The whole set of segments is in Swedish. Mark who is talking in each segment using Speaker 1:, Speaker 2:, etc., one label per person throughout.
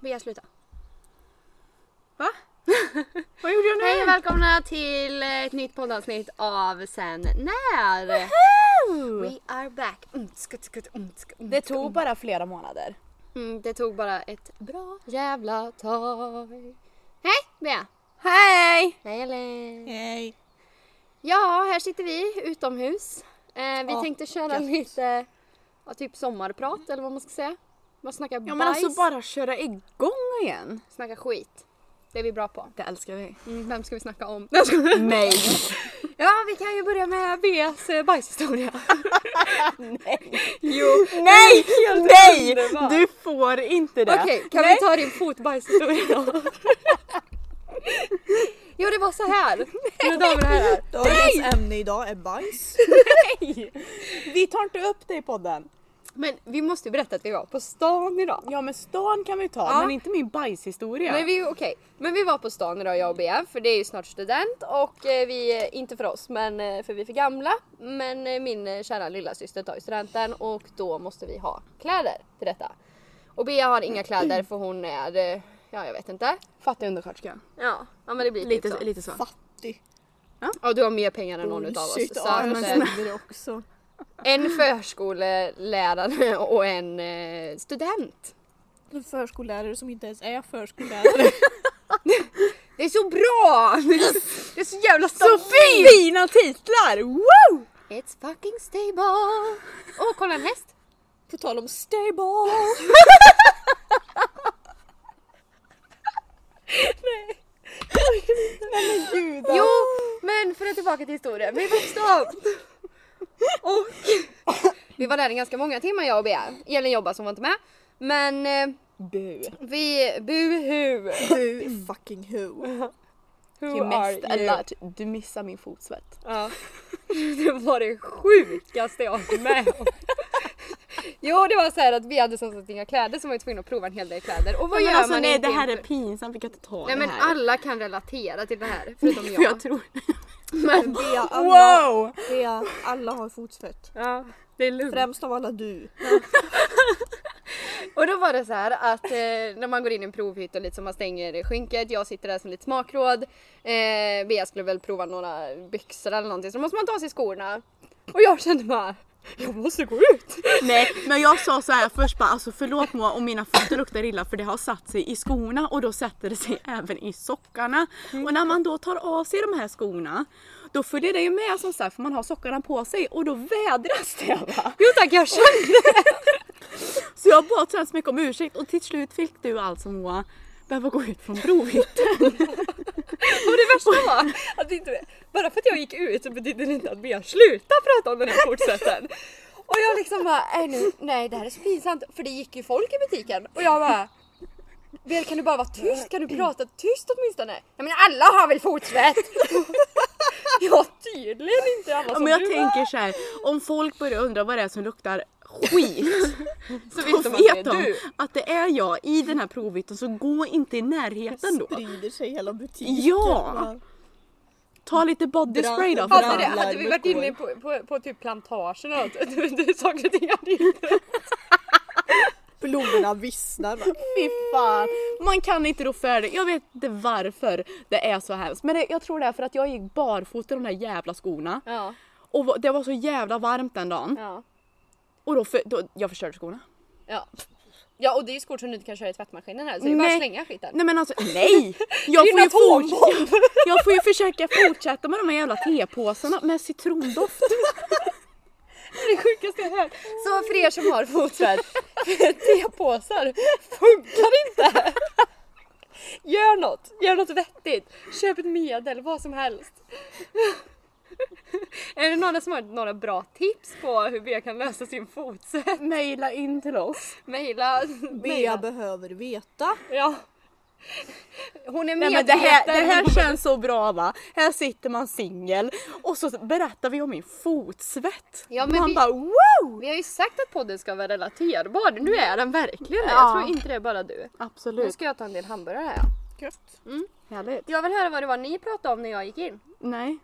Speaker 1: Bea sluta. Va?
Speaker 2: Vad gjorde jag nu?
Speaker 1: Hej och välkomna till ett nytt poddavsnitt av Sen när. We are back. Mm, skut, skut, mm, skut, mm,
Speaker 2: Det
Speaker 1: skut,
Speaker 2: tog bara flera månader.
Speaker 1: Mm, det tog bara ett bra jävla tag. Hej Bea!
Speaker 2: Hej!
Speaker 1: Hej Ellen!
Speaker 2: Hej!
Speaker 1: Ja, här sitter vi utomhus. Eh, vi
Speaker 2: Ja,
Speaker 1: tänkte köra
Speaker 2: gött.
Speaker 1: lite ja, typ sommarprat eller vad man ska säga. Bara snacka
Speaker 2: Ja
Speaker 1: bajs,
Speaker 2: men alltså bara köra igång igen.
Speaker 1: snacka skit. Det är vi bra på.
Speaker 2: Det älskar vi.
Speaker 1: Mm, vem ska vi snacka om?
Speaker 2: Nej!
Speaker 1: Ja, vi kan ju börja med Beas eh, bajshistoria. jo.
Speaker 2: Nej! Nej!
Speaker 1: underbar.
Speaker 2: Du får inte det.
Speaker 1: Okej, kan
Speaker 2: Nej.
Speaker 1: vi ta din fotbajshistoria då? jo, det var så här. Nu tar vi det här.
Speaker 3: Dagens ämne idag är bajs.
Speaker 2: Nej! Vi tar inte upp det i podden.
Speaker 1: Men vi måste ju berätta att vi var på stan idag.
Speaker 2: Ja men stan kan vi ta
Speaker 1: Ja.
Speaker 2: men inte min bajshistoria.
Speaker 1: Men vi, okej, men vi var på stan idag jag och Bea för det är ju snart student och eh, vi, inte för oss men eh, för vi är för gamla. Men eh, min eh, kära lilla syster tar ju studenten och då måste vi ha kläder till detta. Och Bea har inga kläder för hon är, eh, ja jag vet inte.
Speaker 2: Fattig undersköterska.
Speaker 1: Ja, ja men det blir
Speaker 2: Lite,
Speaker 1: typ så.
Speaker 2: lite så.
Speaker 3: Fattig.
Speaker 1: Ja, du har mer pengar än någon utav oss.
Speaker 3: Bullshit.
Speaker 1: Så
Speaker 3: Ja, men
Speaker 1: att, eh,
Speaker 3: snälla. också.
Speaker 1: en förskolelärare och en eh, student.
Speaker 3: En förskollärare som inte ens är förskollärare.
Speaker 1: Det är så bra! Det är så jävla stabilt!
Speaker 2: Fina titlar! Wow!
Speaker 1: It's fucking stable! Åh, kolla en häst!
Speaker 3: På tal om stable.
Speaker 2: Gudar.
Speaker 1: Jo, men för att tillbaka till historien. Vi var på stan. Och vi var där i ganska många timmar jag och Bea. Elin jobbade som var inte med. Men eh,
Speaker 2: Bu.
Speaker 1: vi, buhu!
Speaker 3: Du fucking who.
Speaker 2: Till mest eller att du missar min fotsvett.
Speaker 1: Ja. Det var det sjukaste jag varit med om. Jo det var så här att vi hade som sagt inga kläder så var vi tvungna att prova en hel del kläder. Och vad
Speaker 2: Nej, men
Speaker 1: gör
Speaker 2: alltså,
Speaker 1: man
Speaker 2: nej,
Speaker 1: inte
Speaker 2: det här är
Speaker 1: inför-
Speaker 2: pinsamt, vi kan inte ta
Speaker 1: Nej
Speaker 2: det
Speaker 1: men
Speaker 2: här.
Speaker 1: alla kan relatera till det här förutom
Speaker 2: För
Speaker 1: jag.
Speaker 2: jag tror...
Speaker 1: Men,
Speaker 3: Bea, alla,
Speaker 2: Wow!
Speaker 3: Bea, alla har fotsvett.
Speaker 1: ja, det är lugnt.
Speaker 3: Främst av alla du.
Speaker 1: Och då var det så här att eh, när man går in i en provhytt och lite som man stänger skynket, jag sitter där som lite smakråd. Eh, Bea skulle väl prova några byxor eller någonting så då måste man ta av sig skorna. Och jag kände bara, jag måste gå ut.
Speaker 2: Nej men jag sa så här först bara alltså förlåt Moa om mina fötter luktar illa för det har satt sig i skorna och då sätter det sig även i sockarna. Och när man då tar av sig de här skorna då följer det ju med som sagt för man har sockarna på sig och då vädras det va.
Speaker 1: Jo tack jag kände
Speaker 2: Så jag bad så hemskt mycket om ursäkt och till slut fick du alltså Moa behöva gå ut från provhytten.
Speaker 1: Och det värsta var att inte, bara för att jag gick ut så betyder det inte att Bea slutade prata om den här fortsätten. Och jag liksom bara, nej, nu, nej det här är så pinsamt för det gick ju folk i butiken och jag bara Bea kan du bara vara tyst? Kan du prata tyst åtminstone? Jag menar alla har väl fotsvett? ja tydligen inte alla
Speaker 2: Ja,
Speaker 1: som
Speaker 2: men jag
Speaker 1: du
Speaker 2: tänker så här om folk börjar undra vad det är som luktar skit
Speaker 1: så
Speaker 2: då
Speaker 1: vet de att det är
Speaker 2: vet de
Speaker 1: du.
Speaker 2: att det är jag i den här provhytten så gå inte i närheten då.
Speaker 3: Sprider sig hela butiken.
Speaker 2: Ja.
Speaker 3: va?
Speaker 2: Ta lite body spray då.
Speaker 1: Hade,
Speaker 2: För
Speaker 1: det,
Speaker 2: fan.
Speaker 1: hade vi varit inne på, på, på typ plantagen och allt, saker och ting hade ju
Speaker 3: Blommorna vissnar. va?
Speaker 2: Fy fan. Man kan inte rå för det. Jag vet inte varför det är så hemskt. Men det, jag tror det är för att jag gick barfota i de där jävla skorna.
Speaker 1: Ja,
Speaker 2: Och va- det var så jävla varmt den dagen.
Speaker 1: ja.
Speaker 2: Och då, för, då jag förstörde skorna.
Speaker 1: Ja. Ja och det är ju skor som du inte kan köra i tvättmaskinen här så det är
Speaker 2: Nej.
Speaker 1: bara att slänga skiten.
Speaker 2: Nej men alltså nej! Jag får, ju fortsätta, jag får ju försöka fortsätta med de här jävla tepåsarna med citrondoft.
Speaker 1: Det är det sjukaste jag har hört. Så för er som har fotsvett, tepåsar funkar inte. Gör något, gör något vettigt. Köp ett medel, vad som helst. Är det några som har några bra tips på hur Bea kan lösa sin fotsvett?
Speaker 2: Maila in till oss.
Speaker 1: Mejla.
Speaker 3: Bea behöver veta.
Speaker 1: Ja. Hon är
Speaker 2: Nej
Speaker 1: medveten.
Speaker 2: men det här, det här känns så bra va. Här sitter man singel och så berättar vi om min fotsvett.
Speaker 1: Ja, men
Speaker 2: man
Speaker 1: vi-
Speaker 2: bara wow!
Speaker 1: Vi har ju sagt att podden ska vara relaterbar. Nu är den verkligen det.
Speaker 2: Ja.
Speaker 1: Jag tror inte det är bara du. Nu
Speaker 2: Absolut.
Speaker 1: ska jag ta en del hamburgare här. ja.
Speaker 3: Gött.
Speaker 2: Mm. Härligt.
Speaker 1: Jag vill höra vad det var ni pratade om när jag gick in.
Speaker 2: Nej.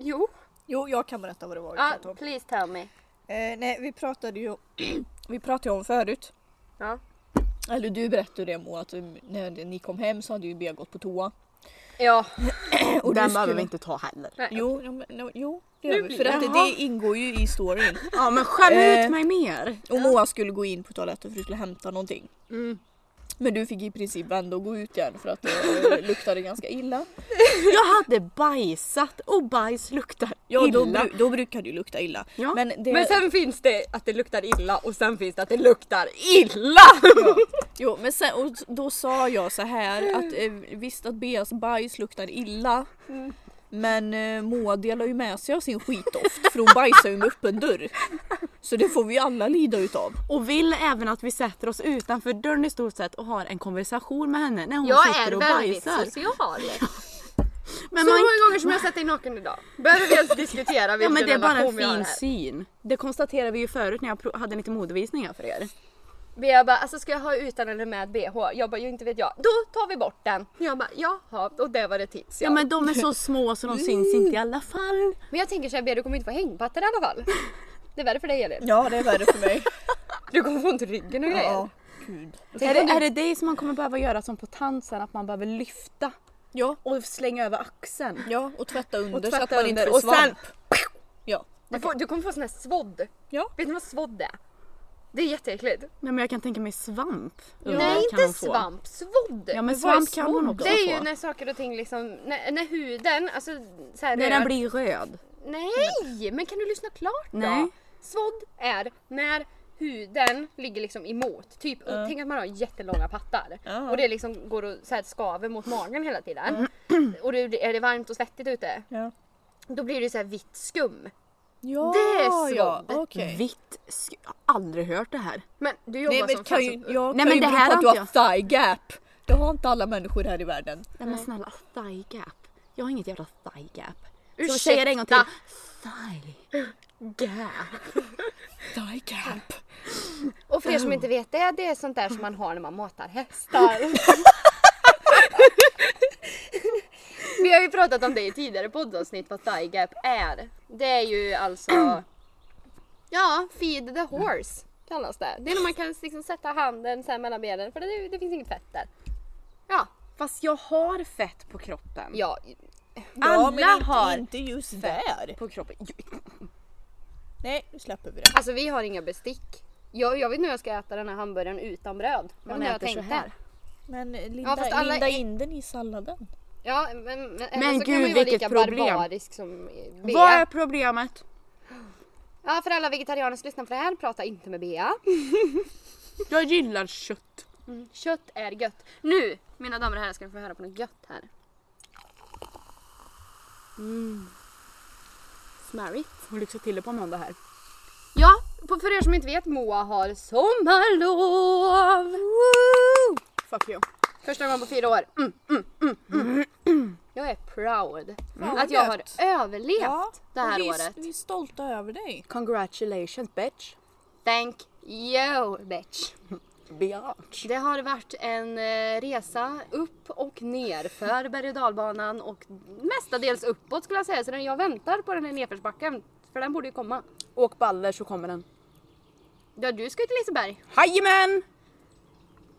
Speaker 1: Jo.
Speaker 3: Jo, jag kan berätta vad det var vi
Speaker 1: Ja,
Speaker 3: pratade om.
Speaker 1: please tell me.
Speaker 3: Eh, nej, vi pratade ju vi pratade ju om förut.
Speaker 1: Ja.
Speaker 3: Eller du berättade det Moa att du- när ni kom hem så hade ju Bea gått på toa.
Speaker 1: Ja.
Speaker 3: Och
Speaker 2: Den
Speaker 3: du
Speaker 2: behöver
Speaker 3: skulle-
Speaker 2: vi inte ta heller.
Speaker 1: Nej.
Speaker 3: Jo, ja, men, no, jo det
Speaker 1: Nu
Speaker 3: gör vi.
Speaker 1: blir
Speaker 3: För
Speaker 1: det-
Speaker 3: att det,
Speaker 2: Jaha.
Speaker 3: det ingår ju i storyn.
Speaker 2: Ja men skäm
Speaker 3: Eh.
Speaker 2: ut mig mer.
Speaker 3: Och Moa skulle gå in på toaletten för att du skulle hämta någonting.
Speaker 1: Mm.
Speaker 3: Men du fick i princip vända och gå ut igen för att det eh, luktade ganska illa.
Speaker 2: Jag hade bajsat och bajs luktar
Speaker 3: Ja, Då,
Speaker 2: illa.
Speaker 3: bru- då brukar det ju lukta illa.
Speaker 2: Ja.
Speaker 3: Men det,
Speaker 1: Men sen finns det att det luktar illa och sen finns det att det luktar ILLA!
Speaker 3: Jo, men sen, och då sa jag så här att eh, visst att Beas bajs luktar illa. Men eh, Moa delar ju med sig av sin skitdoft för hon bajsar ju med öppen dörr. Så det får vi ju alla lida utav.
Speaker 2: Och vill även att vi sätter oss utanför dörren i stort sett och har en konversation med henne när hon
Speaker 1: Jag
Speaker 2: sitter
Speaker 1: är
Speaker 2: och
Speaker 1: väldigt
Speaker 2: bajsar.
Speaker 1: social.
Speaker 2: Men,
Speaker 1: Så
Speaker 2: man,
Speaker 1: många gånger som jag har sett dig naken idag. Behöver vi ens diskutera
Speaker 2: ja,
Speaker 1: vilken
Speaker 2: men det är bara en
Speaker 1: relation vi har
Speaker 2: fin
Speaker 1: här?
Speaker 2: syn. Det konstaterade vi ju förut när jag pro- hade lite modevisningar för er.
Speaker 1: Bea bara, alltså ska jag ha utan eller med bh? Jag bara, ju inte vet jag. Då tar vi bort den. Jag bara, jaha, och det var det tips.
Speaker 2: Ja
Speaker 1: Ja.
Speaker 2: men de är så små så de syns inte i alla fall.
Speaker 1: Men jag tänker såhär Bea, du kommer inte få hängpattar i alla fall. Det är värre för dig Elin.
Speaker 3: Ja, det är värre för mig.
Speaker 1: Du kommer få ont i ryggen och grejer.
Speaker 3: ja. Gud.
Speaker 2: Är det, är det det som man kommer behöva göra som på tansen, att man behöver lyfta
Speaker 3: Ja,
Speaker 2: och slänga över axeln?
Speaker 3: ja, och tvätta under så att
Speaker 2: tvätta
Speaker 3: man inte
Speaker 2: under
Speaker 3: får
Speaker 2: och sen-
Speaker 3: svamp. Ja.
Speaker 1: Du, får, du kommer få sån här svodd.
Speaker 3: Ja.
Speaker 1: Vet ni vad svodd är? Det är jätteäckligt.
Speaker 2: Nej men jag kan tänka mig svamp.
Speaker 1: Nej
Speaker 2: kan hon
Speaker 1: inte
Speaker 2: få.
Speaker 1: svamp, svodd!
Speaker 2: Ja men
Speaker 3: vad är
Speaker 2: svamp kan hon
Speaker 3: svamp?
Speaker 2: också
Speaker 1: det är ju
Speaker 2: få.
Speaker 1: när saker och ting liksom, när, när huden, alltså så här
Speaker 2: När
Speaker 1: röd-
Speaker 2: den blir röd.
Speaker 1: Nej! Men kan du lyssna klart då?
Speaker 2: Nej.
Speaker 1: Svodd är när huden ligger liksom emot. Typ, och Tänk att man har jättelånga pattar
Speaker 3: Ja.
Speaker 1: och det liksom går och så här skaver mot magen hela tiden. Och det, är det varmt och svettigt ute,
Speaker 3: Ja.
Speaker 1: då blir det så här vitt skum.
Speaker 3: Ja,
Speaker 1: Det är
Speaker 3: ja,
Speaker 1: svamp.
Speaker 3: okej.
Speaker 2: Vitt sk- Jag har aldrig hört det här.
Speaker 1: Men du jobbar
Speaker 3: Nej men
Speaker 1: som
Speaker 3: kan ju,
Speaker 1: fashion-
Speaker 3: jag
Speaker 2: Nej,
Speaker 3: kan
Speaker 2: men
Speaker 3: ju
Speaker 2: det
Speaker 3: bero
Speaker 2: här
Speaker 3: på att du
Speaker 2: har
Speaker 3: har thigh gap. Det har inte alla människor här i världen.
Speaker 2: Nej men snälla, thigh gap. Jag har inget jävla thigh gap. Så
Speaker 1: Ursäkta.
Speaker 2: vi säger det en gång till. Thigh gap.
Speaker 3: Thigh gap.
Speaker 1: Och för er som inte vet det, det är sånt där som man har när man matar hästar. Vi har ju pratat om det i tidigare poddavsnitt vad thigh gap är. Det är ju alltså, ja, feed the horse kallas det. Det är när man kan liksom sätta handen så här mellan benen för det, det finns inget fett där. Ja,
Speaker 2: Fast jag har fett på kroppen.
Speaker 1: ja,
Speaker 3: Ja,
Speaker 1: Alla
Speaker 3: men inte,
Speaker 1: har
Speaker 3: inte just där.
Speaker 2: På kroppen. Jo,
Speaker 3: Nej, nu släpper vi det.
Speaker 1: alltså vi har inga bestick. Jag, jag vet nu hur jag ska äta den här hamburgaren utan bröd. Jag vet inte
Speaker 2: Man
Speaker 1: hur jag
Speaker 2: äter så
Speaker 1: tänkte.
Speaker 2: här.
Speaker 3: Men eh, linda,
Speaker 1: Ja, fast alla
Speaker 3: linda
Speaker 1: är-
Speaker 3: in den i salladen.
Speaker 1: Ja, men, men, men
Speaker 2: Men
Speaker 1: så kan
Speaker 2: gud,
Speaker 1: man ju vara lika
Speaker 2: vilket problem.
Speaker 1: barbarisk som Bea.
Speaker 2: Vad är problemet?
Speaker 1: Ja, för alla vegetarianer som lyssnar på det här, prata inte med Bea.
Speaker 2: Jag gillar kött.
Speaker 1: Mm, Kött är gött. Nu, mina damer och herrar, ska ni få höra på något gött här. Mm. Smarrigt.
Speaker 2: Får lyxa till det på måndag här.
Speaker 1: Ja, på- för er som inte vet, Moa har sommarlov!
Speaker 2: Fuck you.
Speaker 1: Första gången på fyra år. Mm, mm, mm, mm. Jag är proud
Speaker 3: vad
Speaker 1: att jag har
Speaker 3: gött.
Speaker 1: överlevt det här
Speaker 3: och vi, är-
Speaker 1: året.
Speaker 3: Vi är stolta över dig.
Speaker 2: Congratulations bitch.
Speaker 1: Thank you bitch!
Speaker 2: Bitch.
Speaker 1: Det har varit en eh, resa upp och ner för berg och dalbanan och mestadels uppåt skulle jag säga. Så den- jag väntar på den här nedförsbacken. För den borde ju komma.
Speaker 2: Åk baller så kommer den.
Speaker 1: Ja, du ska ju till Liseberg.
Speaker 2: Jajamän!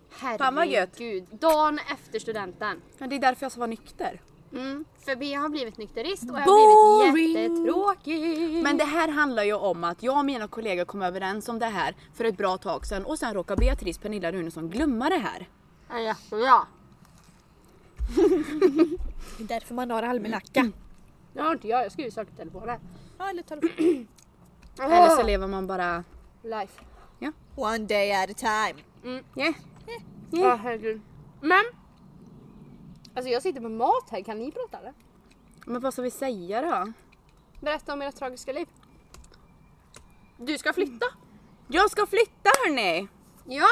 Speaker 2: Fan vad gött.
Speaker 1: Herregud. Dagen efter studenten.
Speaker 2: Men det är därför jag ska vara nykter.
Speaker 1: Mm. För B har blivit nykterist och jag har blivit
Speaker 2: Boring.
Speaker 1: jättetråkig.
Speaker 2: Men det här handlar ju om att jag och mina kollegor kom överens om det här för ett bra tag sedan och sen råkar Beatrice Pernilla Runesson glömma det här.
Speaker 1: Ja, jättebra.
Speaker 3: Det är därför man har almanacka.
Speaker 2: Mm.
Speaker 1: Det har inte jag, jag ska ju söka telefonen.
Speaker 3: Ja, eller telefon.
Speaker 2: Eller så lever man bara...
Speaker 1: Life.
Speaker 3: One day at a time.
Speaker 2: Yeah.
Speaker 1: Ja, herregud. Men. Alltså jag sitter med mat här, kan ni prata eller?
Speaker 2: Men vad ska vi säga då?
Speaker 1: Berätta om era tragiska liv. Du ska flytta.
Speaker 2: Jag ska flytta hörni!
Speaker 1: Ja.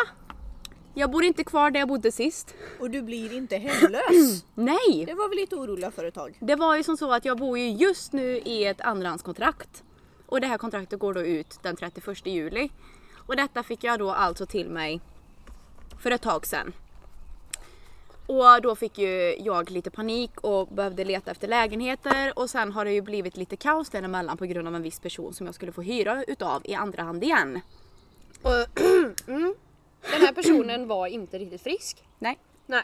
Speaker 2: Jag bor inte kvar där jag bodde sist.
Speaker 3: Och du blir inte hemlös.
Speaker 2: Nej!
Speaker 3: Det var vi lite oroliga för ett tag.
Speaker 2: Det var ju som så att jag bor ju just nu i ett andrahandskontrakt. Och det här kontraktet går då ut den 31 juli. Och detta fick jag då alltså till mig för ett tag sedan. Och då fick ju jag lite panik och behövde leta efter lägenheter och sen har det ju blivit lite kaos däremellan på grund av en viss person som jag skulle få hyra utav i andra hand igen.
Speaker 1: Och, mm, den här personen var inte riktigt frisk.
Speaker 2: Nej.
Speaker 1: Nej.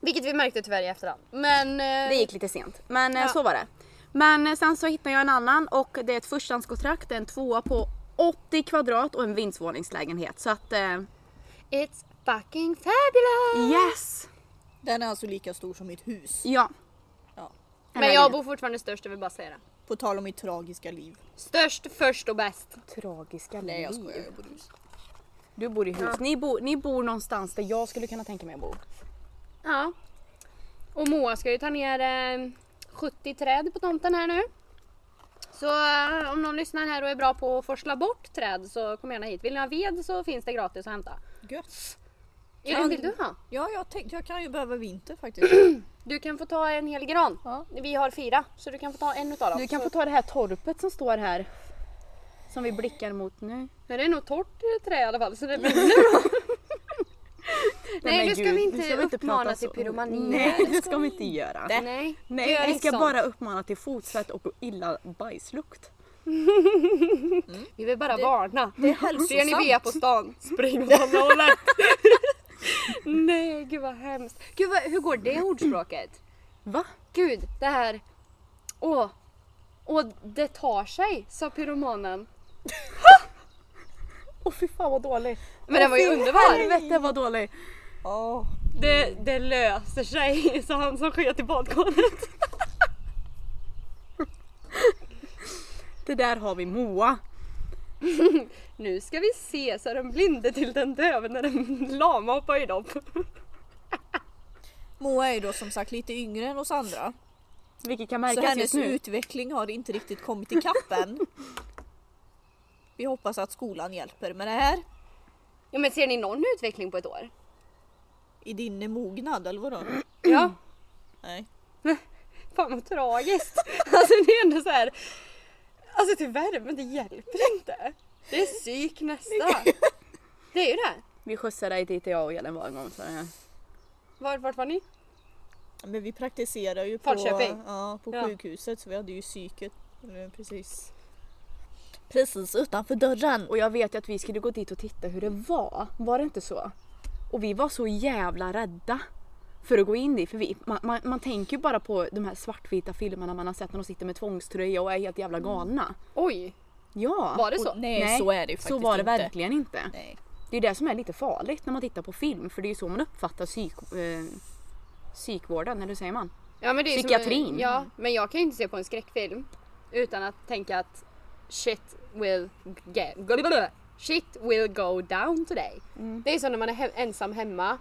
Speaker 1: Vilket vi märkte tyvärr i efterhand. Men... eh,
Speaker 2: Det gick lite sent, men eh,
Speaker 1: Ja.
Speaker 2: så var det. Men eh, sen så hittade jag en annan och det är ett förstahandskontrakt, en tvåa på 80 kvadrat och en vindsvåningslägenhet. Så att eh,
Speaker 1: It's fucking fabulous!
Speaker 2: yes!
Speaker 3: Den är alltså lika stor som mitt hus.
Speaker 2: Ja.
Speaker 3: Ja.
Speaker 2: En
Speaker 1: Men jag
Speaker 2: lägenhet.
Speaker 1: bor fortfarande störst, jag vill bara säga det.
Speaker 3: På tal om mitt tragiska liv.
Speaker 1: Störst, först och bäst.
Speaker 2: Tragiska
Speaker 3: Nej jag
Speaker 2: liv.
Speaker 3: skojar, jag bor i hus.
Speaker 2: Du bor i hus. Ni, bor, ni bor någonstans där jag skulle kunna tänka mig att bo.
Speaker 1: Ja. Och Moa ska ju ta ner eh, 70 träd på tomten här nu. Så eh, om någon lyssnar här och är bra på att forsla bort träd så kom gärna hit. Vill ni ha ved så finns det gratis att hämta.
Speaker 3: Gött.
Speaker 1: Elin,
Speaker 3: Kan-
Speaker 1: vill du ha?
Speaker 3: Ja jag tänkte, jag kan ju behöva vinter faktiskt.
Speaker 1: Du kan få ta en hel gran.
Speaker 3: Ja.
Speaker 1: Vi har fyra, så du kan få ta en utav dem.
Speaker 2: Du kan
Speaker 1: Så-
Speaker 2: få ta det här torpet som står här. Som vi blickar mot nu.
Speaker 1: Men det är nog torrt trä i alla fall så det blir nu då. Nej,
Speaker 2: men
Speaker 1: nu ska
Speaker 2: gud,
Speaker 1: vi inte
Speaker 2: nu ska vi inte prata
Speaker 1: uppmana till
Speaker 2: så.
Speaker 1: pyromani.
Speaker 2: Nej det ska vi inte göra.
Speaker 1: Nej,
Speaker 2: Nej, vi
Speaker 1: inget
Speaker 2: ska
Speaker 1: sånt.
Speaker 2: bara uppmana till fotsvett och illa bajslukt.
Speaker 1: Vi vill bara varna.
Speaker 3: det är hälsosamt.
Speaker 1: Ser ni Bea på stan, spring åt andra hållet. Nej, gud vad hemskt. Gud, vad, hur går det ordspråket?
Speaker 2: Va?
Speaker 1: Gud, det här... Åh, åh, det tar sig, sa pyromanen.
Speaker 2: Åh fy fan vad dålig.
Speaker 1: Men den var ju
Speaker 2: Åh, fy
Speaker 1: underbar.
Speaker 2: Helvete vad dålig.
Speaker 3: Åh.
Speaker 1: Det, det löser sig, sa han som sket i badkaret.
Speaker 2: Det där har vi Moa.
Speaker 1: Nu ska vi se, sa den blinde till den döve när den lama hoppade i dem.
Speaker 3: Moa är ju då som sagt lite yngre än oss andra.
Speaker 2: Vilket kan
Speaker 3: Så
Speaker 2: märkas just
Speaker 3: hennes
Speaker 2: nu.
Speaker 3: utveckling har inte riktigt kommit ikapp än. Vi hoppas att skolan hjälper med det här.
Speaker 1: Ja, men ser ni någon utveckling på ett år?
Speaker 3: I din mognad eller vadå?
Speaker 1: Ja.
Speaker 3: Nej.
Speaker 1: Fan vad tragiskt. Alltså det är ändå så här. Alltså tyvärr men det hjälper inte. Det är psyk nästa. Det är ju det.
Speaker 2: Vi skjutsade dig dit jag och Elin var en gång. Så här.
Speaker 1: Var, vart var ni?
Speaker 3: Men vi praktiserar ju på,
Speaker 1: Falköping.
Speaker 3: ja, på
Speaker 1: Ja.
Speaker 3: sjukhuset så vi hade ju psyket eh, precis. Precis utanför dörren.
Speaker 2: Och jag vet att vi skulle gå dit och titta hur det var. Var det inte så? Och vi var så jävla rädda för att gå in dit. För vi, man, man, man tänker ju bara på de här svartvita filmerna man har sett när de sitter med tvångströja och är helt jävla galna.
Speaker 1: Oj,
Speaker 2: Ja.
Speaker 1: var det så?
Speaker 3: Och- nej, så är det ju faktiskt
Speaker 2: Så var det
Speaker 3: inte.
Speaker 2: verkligen inte.
Speaker 3: Nej.
Speaker 2: Det är det som är lite farligt när man tittar på film för det är ju så man uppfattar psyk, eh, psykvården, eller hur säger man?
Speaker 1: Ja, men det är ju som-
Speaker 2: Psykiatrin.
Speaker 1: ja, men jag kan ju inte se på en skräckfilm utan att tänka att shit will get, shit will go down today. Det är som när man är he- ensam hemma.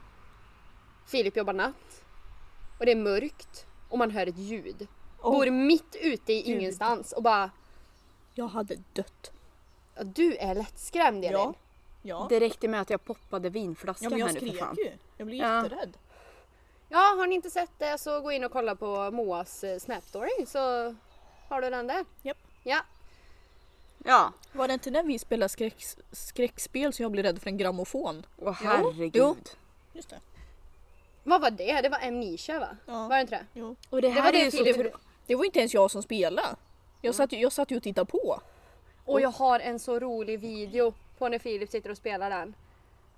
Speaker 1: Filip jobbar natt och det är mörkt och man hör ett ljud. Bor mitt ute i ingenstans och bara
Speaker 3: Jag hade dött.
Speaker 1: Ja, Du är lättskrämd Elin.
Speaker 3: Ja. Ja.
Speaker 2: Det räckte med att jag poppade vinflaskan
Speaker 3: ja men jag
Speaker 2: här nu för
Speaker 3: skrek
Speaker 2: fan.
Speaker 3: ju. Jag blev
Speaker 2: Ja.
Speaker 3: jätterädd.
Speaker 1: ja, har ni inte sett det så gå in och kolla på Moas eh, Snapstory så har du den där.
Speaker 3: Japp.
Speaker 1: Ja.
Speaker 2: Ja.
Speaker 3: Var det inte när vi spelade skräck, skräckspel som jag blev rädd för en grammofon?
Speaker 2: Åh herregud.
Speaker 3: Jo. Just det.
Speaker 1: Vad var det? Det var Amnesia va?
Speaker 3: Ja.
Speaker 1: Var det inte det?
Speaker 3: Jo.
Speaker 2: Och det här
Speaker 1: var det
Speaker 2: är ju så
Speaker 1: Filip-
Speaker 2: tro-
Speaker 3: Det var inte ens jag som spelade. Jag satt ju, jag satt ju och tittade på.
Speaker 1: Och jag har en så rolig video på när Filip sitter och spelar den.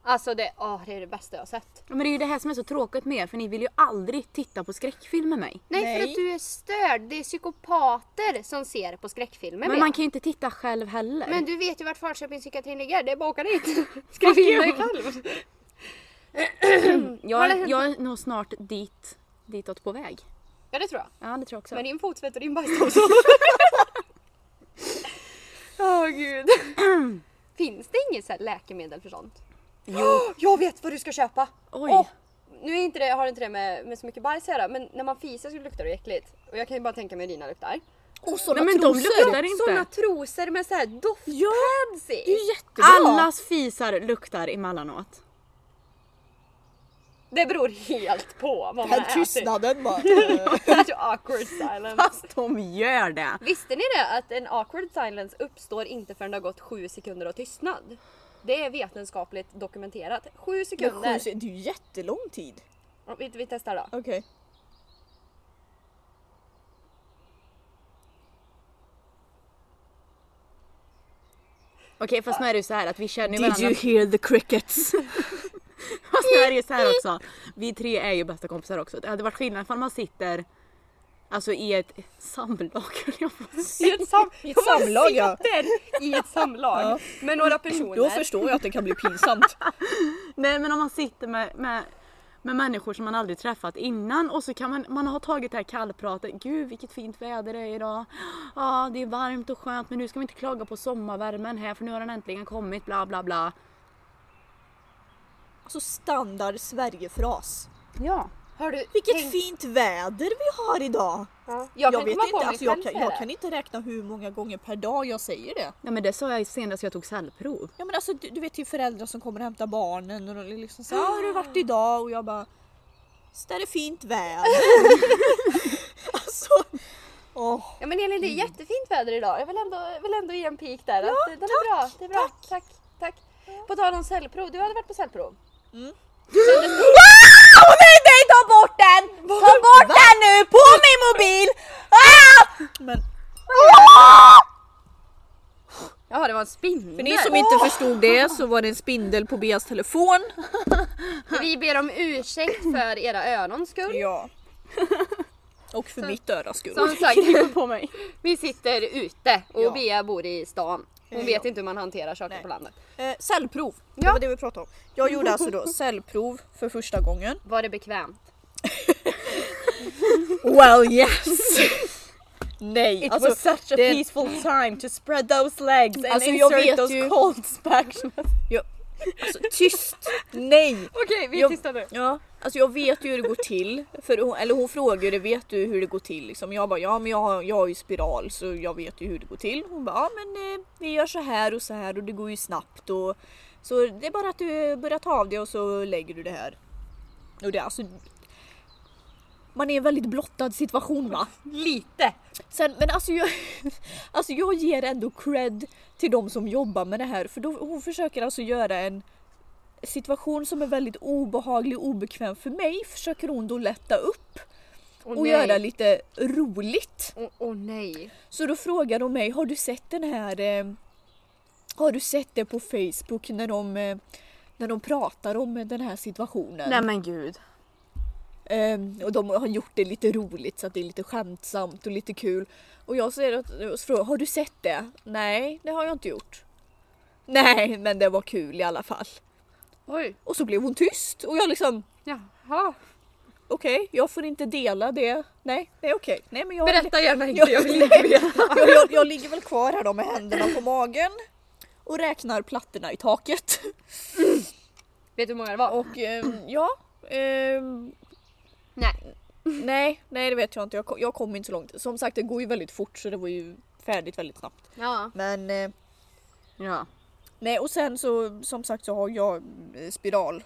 Speaker 1: Alltså det, åh, det är det bästa jag har sett.
Speaker 2: Ja, Men det är ju det här som är så tråkigt med er för ni vill ju aldrig titta på skräckfilm med mig.
Speaker 1: Nej, för
Speaker 3: Nej.
Speaker 1: att du är störd. Det är psykopater som ser på skräckfilmer
Speaker 2: Men
Speaker 1: med.
Speaker 2: man kan ju inte titta själv heller.
Speaker 1: Men du vet ju vart Falköpingspsykiatrin ligger. Det är bara att åka dit. Skriv in dig själv. Vad har
Speaker 2: jag,
Speaker 1: hänt?
Speaker 2: jag är nog snart dit, ditåt på väg.
Speaker 1: Ja det tror jag.
Speaker 2: Ja det tror jag också.
Speaker 1: Med din fotsvett och din bajsdosa. Åh gud. Finns det inget så här läkemedel för sånt? Jo. Jag vet vad du ska köpa!
Speaker 2: Oj.
Speaker 1: Åh, nu är inte det, har inte det med, med så mycket bajs att göra men när man fiser så luktar det äckligt. Och jag kan ju bara tänka mig hur dina luktar.
Speaker 3: Och såna
Speaker 2: Nej, men de luktar inte.
Speaker 1: Såna trosor med så här doftpads
Speaker 3: Det är
Speaker 1: i.
Speaker 3: ju jättebra!
Speaker 2: Allas fisar luktar emellanåt.
Speaker 1: Det beror helt på vad man
Speaker 3: Den
Speaker 1: har ätit.
Speaker 3: tystnaden bara.
Speaker 1: Such awkward silence.
Speaker 2: Fast de gör det!
Speaker 1: Visste ni det att en awkward silence uppstår inte förrän det har gått sju sekunder av tystnad? Det är vetenskapligt dokumenterat. Sju
Speaker 3: Det
Speaker 1: sekunder.
Speaker 3: är ju jättelång tid.
Speaker 1: Ja, Vi, vi testar då.
Speaker 3: Okej.
Speaker 2: Okej fast nu är det ju så här att vi känner ju
Speaker 3: Did
Speaker 2: varandra.
Speaker 3: you hear the crickets?
Speaker 2: Fast nu är Alltså, det ju så här också. Vi tre är ju bästa kompisar också. Det hade varit skillnad ifall man sitter Alltså i ett samlag höll jag på att säga.
Speaker 1: I ett, sam-
Speaker 3: I ett samlag, ja.
Speaker 1: sitter i ett samlag
Speaker 3: Ja.
Speaker 1: med några personer.
Speaker 3: Då förstår jag att det kan bli pinsamt.
Speaker 2: Nej men om man sitter med, med, med människor som man aldrig träffat innan och så kan man, man har tagit det här kallpratet. Gud vilket fint väder det är idag. Ja det är varmt och skönt men nu ska vi inte klaga på sommarvärmen här för nu har den äntligen kommit bla bla bla.
Speaker 3: Alltså standard Sverigefras.
Speaker 2: Ja.
Speaker 1: Har du
Speaker 3: Vilket
Speaker 1: tänkt-
Speaker 3: fint väder vi har idag!
Speaker 1: Ja. Jag, kan komma på om
Speaker 3: alltså,
Speaker 1: jag själv
Speaker 3: jag, kan,
Speaker 1: säger
Speaker 3: jag
Speaker 1: det.
Speaker 3: kan inte räkna hur många gånger per dag jag säger det.
Speaker 2: Nej men det sa jag senast jag tog cellprov.
Speaker 3: Ja men alltså du, du vet till föräldrar som kommer och hämtar barnen och de liksom så "Ah, har du varit idag? Och jag bara Visst är det fint väder? alltså, åh.
Speaker 1: Ja men Elin det är jättefint väder idag. Jag vill ändå, vill ändå ge en pik där. Ja, att, den är bra. Det är bra. Tack. Tack. På tal om cellprov, du hade varit på cellprov.
Speaker 3: Nej ta bort den! Ta bort den nu! På min mobil! Men
Speaker 1: Jaha det var en spindel.
Speaker 3: för ni som inte förstod det så var det en spindel på Beas telefon.
Speaker 1: Vi ber om ursäkt för era önons skull.
Speaker 3: Ja. Och för mitt öras skull.
Speaker 1: Som sagt,
Speaker 2: på mig.
Speaker 1: vi sitter ute och
Speaker 3: Ja.
Speaker 1: Bea bor i stan. Hon
Speaker 3: Eh,
Speaker 1: vet
Speaker 3: ja.
Speaker 1: inte hur man hanterar saker
Speaker 3: Nej.
Speaker 1: på landet.
Speaker 3: Eh, cellprov, det
Speaker 1: Ja.
Speaker 3: var det vi pratade om. Jag gjorde alltså då cellprov för första gången.
Speaker 1: Var det bekvämt?
Speaker 3: Well yes! Nej,
Speaker 2: It
Speaker 3: alltså
Speaker 2: was such a
Speaker 3: det-
Speaker 2: peaceful time to spread those legs and
Speaker 3: Alltså, jag
Speaker 2: insert
Speaker 3: vet
Speaker 2: those
Speaker 3: ju-
Speaker 2: colds back.
Speaker 3: alltså, tyst! Nej!
Speaker 1: Okej, vi
Speaker 3: Jag-
Speaker 1: tystar nu.
Speaker 3: Ja, alltså jag vet ju hur det går till. För hon, eller hon frågade det, vet du hur det går till? Liksom. Jag bara, ja men jag har, jag har ju spiral så jag vet ju hur det går till. Hon bara, ja men eh, vi gör så här och så här och det går ju snabbt. Och, så det är bara att du börjar ta av det och så lägger du det här. Och det, är alltså, man är i en väldigt blottad situation va?
Speaker 1: Lite.
Speaker 3: Sen, men alltså jag, alltså jag ger ändå cred till de som jobbar med det här för då, hon försöker alltså göra en situation som är väldigt obehaglig och obekväm för mig försöker hon då lätta upp
Speaker 1: Åh,
Speaker 3: och
Speaker 1: nej.
Speaker 3: göra lite roligt.
Speaker 1: Åh åh, nej.
Speaker 3: Så då frågar de mig, har du sett den här eh, har du sett det på Facebook när de, eh, när de pratar om eh, den här situationen?
Speaker 2: Nej men gud.
Speaker 3: Ehm, och de har gjort det lite roligt så att det är lite skämtsamt och lite kul. Och jag säger att, och så frågar, jag, har du sett det? Nej, det har jag inte gjort. Nej, men det var kul i alla fall.
Speaker 1: Oj,
Speaker 3: Och så blev hon tyst och jag liksom,
Speaker 1: jaha.
Speaker 3: okej, jag får inte dela det. Nej, det är okej. Nej, men jag,
Speaker 1: Berätta gärna inte, jag vill inte veta.
Speaker 3: jag, jag, jag ligger väl kvar här då med händerna på magen och räknar plattorna i taket.
Speaker 1: Vet du hur många det var?
Speaker 3: Och ehm, ja, ehm,
Speaker 1: Nej.
Speaker 3: nej, nej det vet jag inte. Jag kom, jag kom inte så långt. Som sagt, det går ju väldigt fort så det var ju färdigt väldigt snabbt.
Speaker 1: Ja.
Speaker 3: Men eh,
Speaker 2: Ja.
Speaker 3: nej och sen så som sagt så har jag eh, spiral.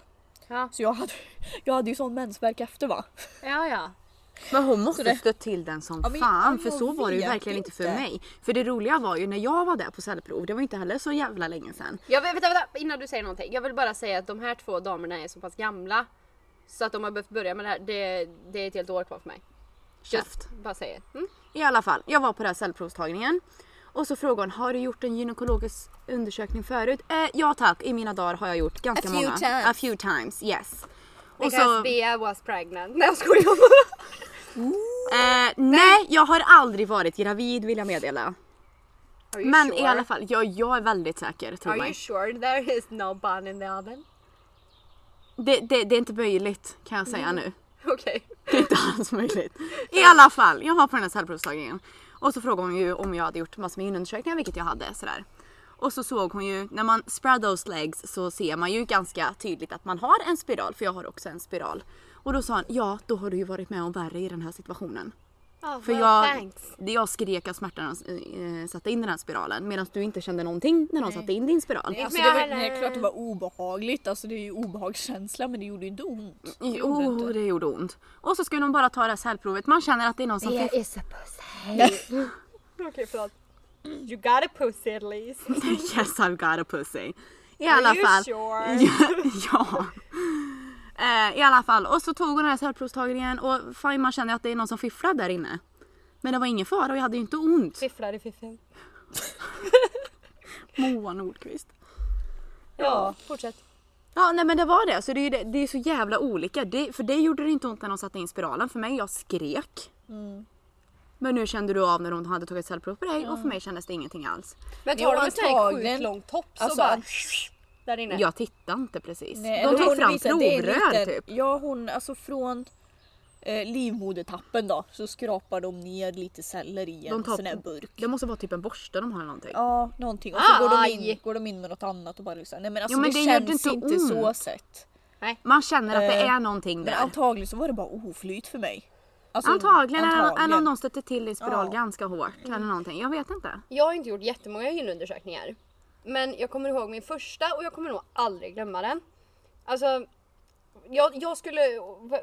Speaker 1: Ja,
Speaker 3: Så jag hade, jag hade ju sån mensvärk efter va.
Speaker 1: ja. ja.
Speaker 2: Men hon måste stött till den som
Speaker 3: Ja, men-
Speaker 2: fan
Speaker 3: ja,
Speaker 2: för
Speaker 3: jag
Speaker 2: så var det ju
Speaker 3: vet
Speaker 2: verkligen inte för
Speaker 3: inte.
Speaker 2: mig. För det roliga var ju när jag var där på cellprov, det var inte heller så jävla länge sedan.
Speaker 1: Jag vill, vänta, vänta, innan du säger någonting. Jag vill bara säga att de här två damerna är så pass gamla så att de har behövt börja med det här. Det, det är ett helt år kvar för mig.
Speaker 2: Käft.
Speaker 1: Bara säger. Mm?
Speaker 2: I alla fall, jag var på den här cellprovstagningen. Och så frågade hon, har du gjort en gynekologisk undersökning förut? Eh, ja tack, i mina dagar har jag gjort ganska
Speaker 3: A few
Speaker 2: många.
Speaker 3: times.
Speaker 2: A few times. Yes. Och
Speaker 1: Because
Speaker 2: så,
Speaker 1: Bea was pregnant. Nej jag skojar bara.
Speaker 2: eh, nej, jag har aldrig varit gravid vill jag meddela.
Speaker 1: Are you
Speaker 2: Men
Speaker 1: sure?
Speaker 2: i alla fall, jag, jag är väldigt säker. Tror
Speaker 1: Are
Speaker 2: mig.
Speaker 1: you sure there is no bun in the oven?
Speaker 2: Det, det, det är inte möjligt kan jag
Speaker 3: Mm.
Speaker 2: säga nu.
Speaker 1: Okej.
Speaker 2: Det är inte alls möjligt. I alla fall, jag var på den här cellprovstagningen. Och så frågade hon ju om jag hade gjort massor med gynundersökningar, vilket jag hade. Sådär. Och så såg hon ju, när man spread those legs så ser man ju ganska tydligt att man har en spiral, för jag har också en spiral. Och då sa hon, ja då har du ju varit med om värre i den här situationen.
Speaker 1: Oh,
Speaker 2: För
Speaker 1: well,
Speaker 2: jag,
Speaker 1: thanks.
Speaker 2: det jag skrek av smärta när de eh, satte in den här spiralen medan du inte kände någonting när de satte in din spiral.
Speaker 3: Alltså,
Speaker 1: men
Speaker 3: det,
Speaker 1: jag
Speaker 3: var,
Speaker 1: hade-
Speaker 3: nej, klart det var obehagligt, alltså det är ju obehagskänsla men det gjorde ju inte ont. Det
Speaker 2: Jo,
Speaker 3: gjorde det inte.
Speaker 2: det gjorde ont. Och så skulle de bara ta det här cellprovet. Man känner att det är någon som fifflar.
Speaker 1: is a pussy. Okej förlåt. You got a pussy at least.
Speaker 2: Yes I've got a pussy. I alla
Speaker 1: you
Speaker 2: fall.
Speaker 1: sure?
Speaker 2: ja. ja. Eh, I alla fall. Och så tog hon den här cellprovstagningen och fan man känner att det är någon som fifflar där inne. Men det var ingen fara och jag hade ju inte ont.
Speaker 1: Fifflar i fiffen.
Speaker 2: Moa Nordqvist.
Speaker 1: Ja, fortsätt.
Speaker 2: Ja nej men det var det, så det är, ju det, det är så jävla olika. Det, för det gjorde det inte ont när de satte in spiralen för mig, jag skrek.
Speaker 3: Mm.
Speaker 2: Men nu kände du av när de hade tagit cellprov på dig och för mig kändes det ingenting alls.
Speaker 1: Men
Speaker 3: Jo,
Speaker 1: tar de en sån här sjukt
Speaker 3: antagligen.
Speaker 1: lång topp så
Speaker 3: Alltså,
Speaker 1: bara... Där inne.
Speaker 2: Jag tittade inte precis.
Speaker 3: Nej,
Speaker 2: de
Speaker 3: eller
Speaker 2: tog
Speaker 3: hon
Speaker 2: fram
Speaker 3: visar, det är en
Speaker 2: provrör
Speaker 3: liten-
Speaker 2: typ.
Speaker 3: Ja hon, alltså från eh, livmodertappen då så skrapar de ner lite celler i en
Speaker 2: De tar-
Speaker 3: sån här burk.
Speaker 2: Det måste vara typ en borste de har eller någonting.
Speaker 3: Ja någonting och så går de, in,
Speaker 1: Aj!
Speaker 3: går de in med något annat och bara liksom, nej men alltså
Speaker 2: Jo, men
Speaker 3: det,
Speaker 2: det gör
Speaker 3: känns
Speaker 2: det
Speaker 3: inte,
Speaker 2: inte
Speaker 3: så
Speaker 2: ont.
Speaker 3: sett.
Speaker 2: Man känner att det
Speaker 3: Eh,
Speaker 2: är någonting
Speaker 3: Men
Speaker 2: där.
Speaker 3: antagligen så var det bara oflyt för mig. Alltså,
Speaker 2: antagligen eller- eller om
Speaker 3: antagligen.
Speaker 2: någon stötte till din spiral
Speaker 3: Ja. Mm.
Speaker 2: ganska hårt eller någonting. Jag vet inte.
Speaker 1: Jag har inte gjort jättemånga gynundersökningar. Men jag kommer ihåg min första och jag kommer nog aldrig glömma den. Alltså, jag, jag, skulle,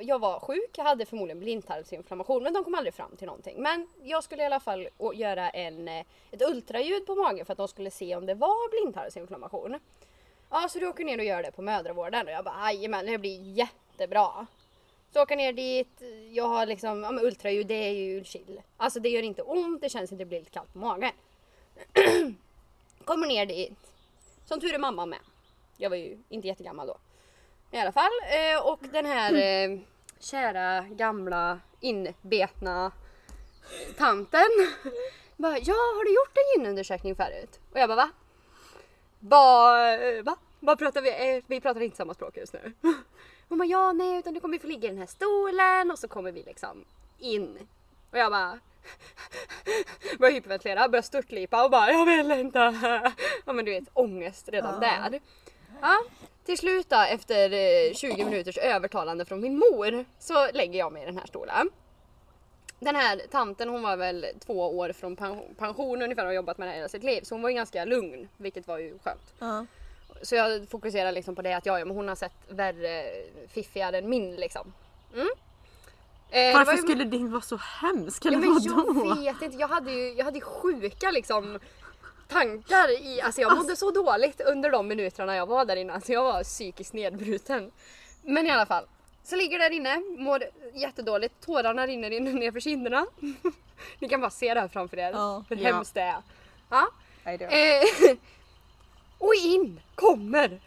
Speaker 1: jag var sjuk, jag hade förmodligen blindtarmsinflammation men de kom aldrig fram till någonting. Men jag skulle i alla fall å- göra en, eh, ett ultraljud på magen för att de skulle se om det var blindtarmsinflammation. Ja, så du åker ner och gör det på mödravården och jag bara men det blir jättebra. Så jag åker ner dit, jag har liksom, ja men ultraljud det är ju chill. Alltså det gör inte ont, det känns inte, det blir lite kallt på magen. Kommer ner dit. Som tur är mamma med. Jag var ju inte jättegammal då. I alla fall. Eh, och den här eh, kära gamla inbetna tanten. Bara, ja har du gjort en gynundersökning förut? Och jag bara va? Bara, eh, va? Vad pratar vi? Eh, vi pratar inte samma språk just nu. Hon bara ja nej utan du kommer få ligga i den här stolen och så kommer vi liksom in. Och jag bara börjar hyperventilera, börjar störtlipa och bara jag vill inte. Ja men du vet ångest redan där. Ja, till slut då efter eh, 20 minuters övertalande från min mor så lägger jag mig i den här stolen. Den här tanten hon var väl två år från pension, pension ungefär och har jobbat med det här hela sitt liv så hon var ju ganska lugn vilket var ju skönt.
Speaker 3: Ja.
Speaker 1: Så jag fokuserar liksom på det att ja, ja, men hon har sett värre fiffigare än min liksom. Mm. Eh, det var
Speaker 2: Varför
Speaker 1: ju-
Speaker 2: skulle din vara så hemsk? Eller
Speaker 1: Ja, men jag
Speaker 2: vadå?
Speaker 1: vet inte, jag hade ju jag hade ju sjuka liksom tankar i, alltså jag mådde så dåligt under de minuterna jag var där inne, alltså jag var psykiskt nedbruten. Men i alla fall, så ligger där inne, mår jättedåligt, tårarna rinner in ner för kinderna. Ni kan bara se det här framför er,
Speaker 3: Ja.
Speaker 1: hur
Speaker 2: Ja.
Speaker 1: hemskt det är. Ja.
Speaker 3: Nej, det-
Speaker 1: Eh, och in kommer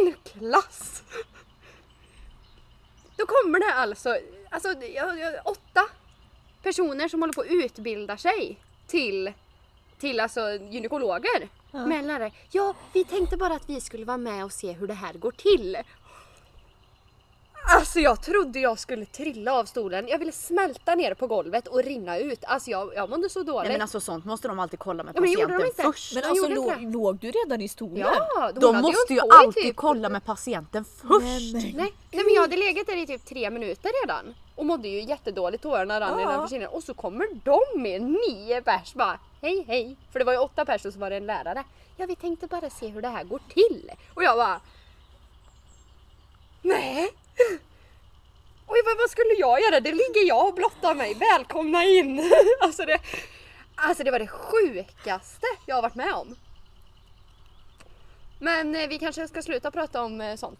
Speaker 1: en klass! Då kommer det alltså, alltså det- jag- jag- åtta personer som håller på att utbilda sig till, till alltså gynekologer. Med en lärare. Ja, vi tänkte bara att vi skulle vara med och se hur det här går till. Alltså jag trodde jag skulle trilla av stolen. Jag ville smälta ner på golvet och rinna ut. Alltså jag, jag mådde så dåligt.
Speaker 2: Nej, men alltså sånt måste de alltid kolla med
Speaker 1: Ja, men det gjorde de
Speaker 2: patienten
Speaker 1: inte.
Speaker 2: först.
Speaker 3: Men
Speaker 1: Jag
Speaker 3: alltså
Speaker 1: gjorde inte
Speaker 3: låg, låg du redan i stolen?
Speaker 1: Ja, hon
Speaker 2: De
Speaker 1: hade
Speaker 2: måste ju
Speaker 1: hållit på i
Speaker 2: alltid
Speaker 1: typ-
Speaker 2: kolla med patienten först.
Speaker 3: Nej,
Speaker 1: Nej, nej men jag hade legat där i typ tre minuter redan och mådde ju jättedåligt, tårarna rann
Speaker 3: Ja.
Speaker 1: nedanför kinderna och så kommer de med nio pers bara hej hej. För det var ju åtta pers och så var det en lärare. Ja vi tänkte bara se hur det här går till. Och jag bara Nej! Oj vad, vad skulle jag göra? Det ligger jag och blottar mig. Välkomna in! Alltså det, alltså det var det sjukaste jag har varit med om. Men eh, vi kanske ska sluta prata om eh, sånt.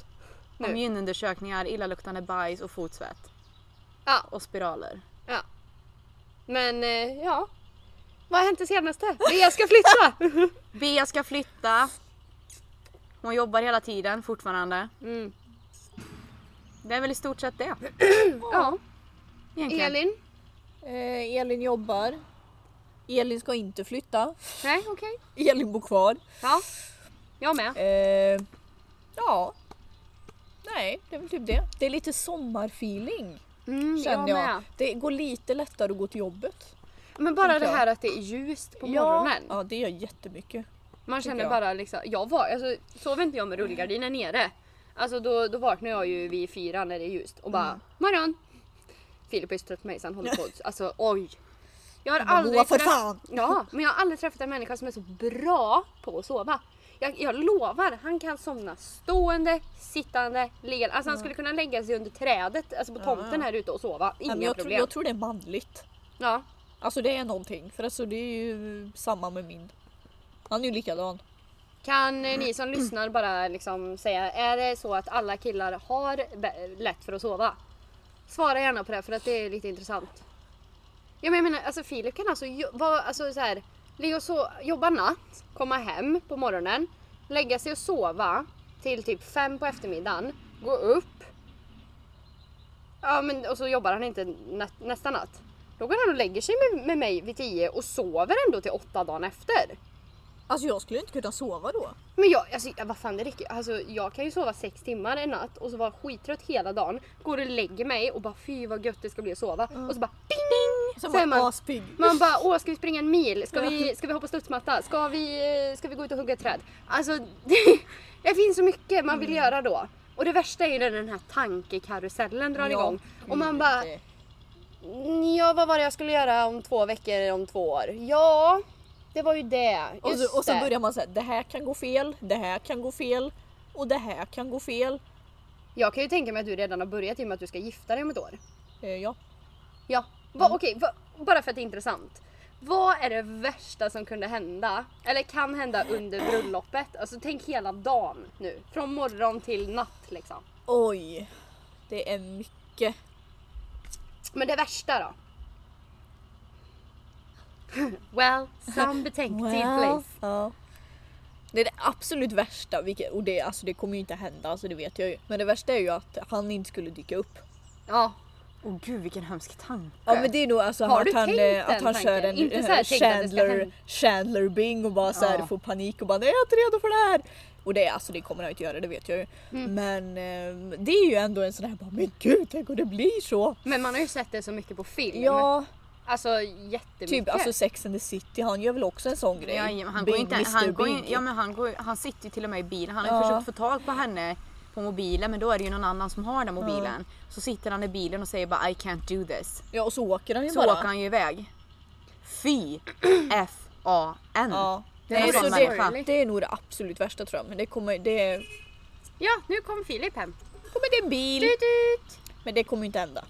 Speaker 1: Nu.
Speaker 2: Om gynundersökningar, illaluktande bajs och fotsvett.
Speaker 1: Ja.
Speaker 2: Och spiraler.
Speaker 1: Ja. Men eh, ja. Vad har hänt det senaste? Jag ska flytta!
Speaker 2: Bea ska flytta. Hon jobbar hela tiden fortfarande.
Speaker 1: Mm.
Speaker 2: Det är väl i stort sett det.
Speaker 1: Ja,
Speaker 2: Egentligen.
Speaker 1: Elin?
Speaker 3: Eh, Elin jobbar. Elin ska inte flytta.
Speaker 1: Nej, okej.
Speaker 3: Elin bor kvar.
Speaker 1: Ja. Jag med.
Speaker 3: Eh, ja. Nej, det är väl typ det. Det är lite sommarfeeling
Speaker 1: Mm,
Speaker 3: känner
Speaker 1: jag
Speaker 3: jag.
Speaker 1: med.
Speaker 3: Det går lite lättare att gå till jobbet.
Speaker 1: Men bara det
Speaker 3: Tänker jag.
Speaker 1: här att det är ljust på
Speaker 3: Ja,
Speaker 1: morgonen.
Speaker 3: ja, det gör jättemycket.
Speaker 1: Man känner
Speaker 3: jag.
Speaker 1: bara liksom, jag var, alltså, sov inte jag med rullgardinen nere. Alltså då, då vaknar jag ju vid fyra när det är ljust och
Speaker 3: Mm.
Speaker 1: bara morgon. Filip har ju stött mig sen håller på Alltså oj. Jag har
Speaker 3: bara, "Moa,
Speaker 1: aldrig
Speaker 3: för
Speaker 1: träff-
Speaker 3: fan!"
Speaker 1: Ja, men jag har aldrig träffat en människa som är så bra på att sova. Jag, jag lovar, han kan somna stående, sittande, liggande. Alltså han skulle kunna lägga sig under trädet, alltså på tomten här ute och sova.
Speaker 3: Nej,
Speaker 1: Inga
Speaker 3: men jag, tror,
Speaker 1: problem.
Speaker 3: jag tror det är manligt.
Speaker 1: Ja.
Speaker 3: Alltså det är någonting. För alltså det är ju samma med min. Han är ju likadan.
Speaker 1: Kan eh, ni som lyssnar bara liksom säga, är det så att alla killar har be- lätt för att sova? Svara gärna på det för att det är lite intressant. Ja, men jag menar, alltså Filip kan alltså, jo- vara, alltså så här, Ligga och so- jobba natt, komma hem på morgonen, lägga sig och sova till typ fem på eftermiddagen, gå upp. Ja men och så jobbar han inte nä- nästa natt. Då går han och lägger sig med, med mig vid tio och sover ändå till åtta dagen efter.
Speaker 3: Alltså jag skulle inte kunna sova då.
Speaker 1: Men jag, alltså, vad fan det räcker alltså, jag kan ju sova sex timmar en natt och så vara skittrött hela dagen, går och lägger mig och bara fy vad gött det ska bli att sova och så bara ding!
Speaker 3: Sen
Speaker 1: Så är
Speaker 3: var
Speaker 1: man-
Speaker 3: man aspigg.
Speaker 1: Man bara åh ska vi springa en mil? Ska vi, ska vi hoppa studsmatta? Ska vi, eh, ska vi gå ut och hugga ett träd? Alltså det, det finns så mycket man vill
Speaker 3: Mm.
Speaker 1: göra då. Och det värsta är ju när den här tankekarusellen drar
Speaker 3: Ja.
Speaker 1: igång och man bara "Mm, ja vad var det jag skulle göra om två veckor eller om två år? Ja det var ju det.
Speaker 3: Och,
Speaker 1: Just
Speaker 3: så, och sen
Speaker 1: det.
Speaker 3: börjar man säga det här kan gå fel, det här kan gå fel och det här kan gå fel.
Speaker 1: Jag kan ju tänka mig att du redan har börjat i och med att du ska gifta dig om ett år.
Speaker 3: Eh, ja.
Speaker 1: Ja, va, okej, va, bara för att det är intressant. Vad är det värsta som kunde hända, eller kan hända under bröllopet? Alltså tänk hela dagen nu, från morgon till natt liksom.
Speaker 3: Oj, det är mycket.
Speaker 1: Men det värsta då? Well, some betänketid place.
Speaker 3: ja. Det är det absolut värsta, vilket, och det, alltså, det kommer ju inte hända, alltså, det vet jag ju. Men det värsta är ju att han inte skulle dyka upp.
Speaker 1: Ja,
Speaker 2: Åh gud vilken hemsk tanke.
Speaker 3: Ja men det är nog alltså
Speaker 1: Har du
Speaker 3: att han,
Speaker 1: tänkt
Speaker 3: eh,
Speaker 1: den
Speaker 3: att han kör
Speaker 1: tanken?
Speaker 3: en
Speaker 1: Inte
Speaker 3: eh,
Speaker 1: så här, tänk att det ska
Speaker 3: Chandler,
Speaker 1: hända.
Speaker 3: Chandler Bing och bara så här,
Speaker 2: Ja.
Speaker 3: får panik och bara nej jag är inte redo för det här. Och det, alltså, det kommer han ju inte göra, det vet jag ju. Men eh, det är ju ändå en sån här bara men gud tänk om det blir så.
Speaker 1: men man har ju sett det så mycket på film.
Speaker 3: Ja,
Speaker 1: Alltså jättemycket.
Speaker 3: typ alltså Sex and the City han gör väl också en sån grej.
Speaker 2: Ja, jajamän, han,
Speaker 3: Bing,
Speaker 2: går inte,
Speaker 3: Mr.
Speaker 2: han, går in,
Speaker 3: Bing.
Speaker 2: ja, men han, går, han sitter ju till och med i bilen. Han har
Speaker 3: Ja.
Speaker 2: ju försökt få tag på henne på mobilen men då är det ju någon annan som har den mobilen. Så sitter han i bilen och säger bara I can't do this.
Speaker 3: ja och så åker han ju
Speaker 2: Så
Speaker 3: bara.
Speaker 2: åker han ju iväg. Fy F-A-N.
Speaker 3: Ja.
Speaker 2: Det är
Speaker 3: Nej,
Speaker 2: en
Speaker 3: så
Speaker 2: sån människa.
Speaker 3: det, det är nog det absolut värsta tror jag men det kommer, det
Speaker 1: Ja, nu kom Filip hem.
Speaker 3: kommer det en bil
Speaker 1: Tut, tut.
Speaker 3: men det kommer ju inte hända.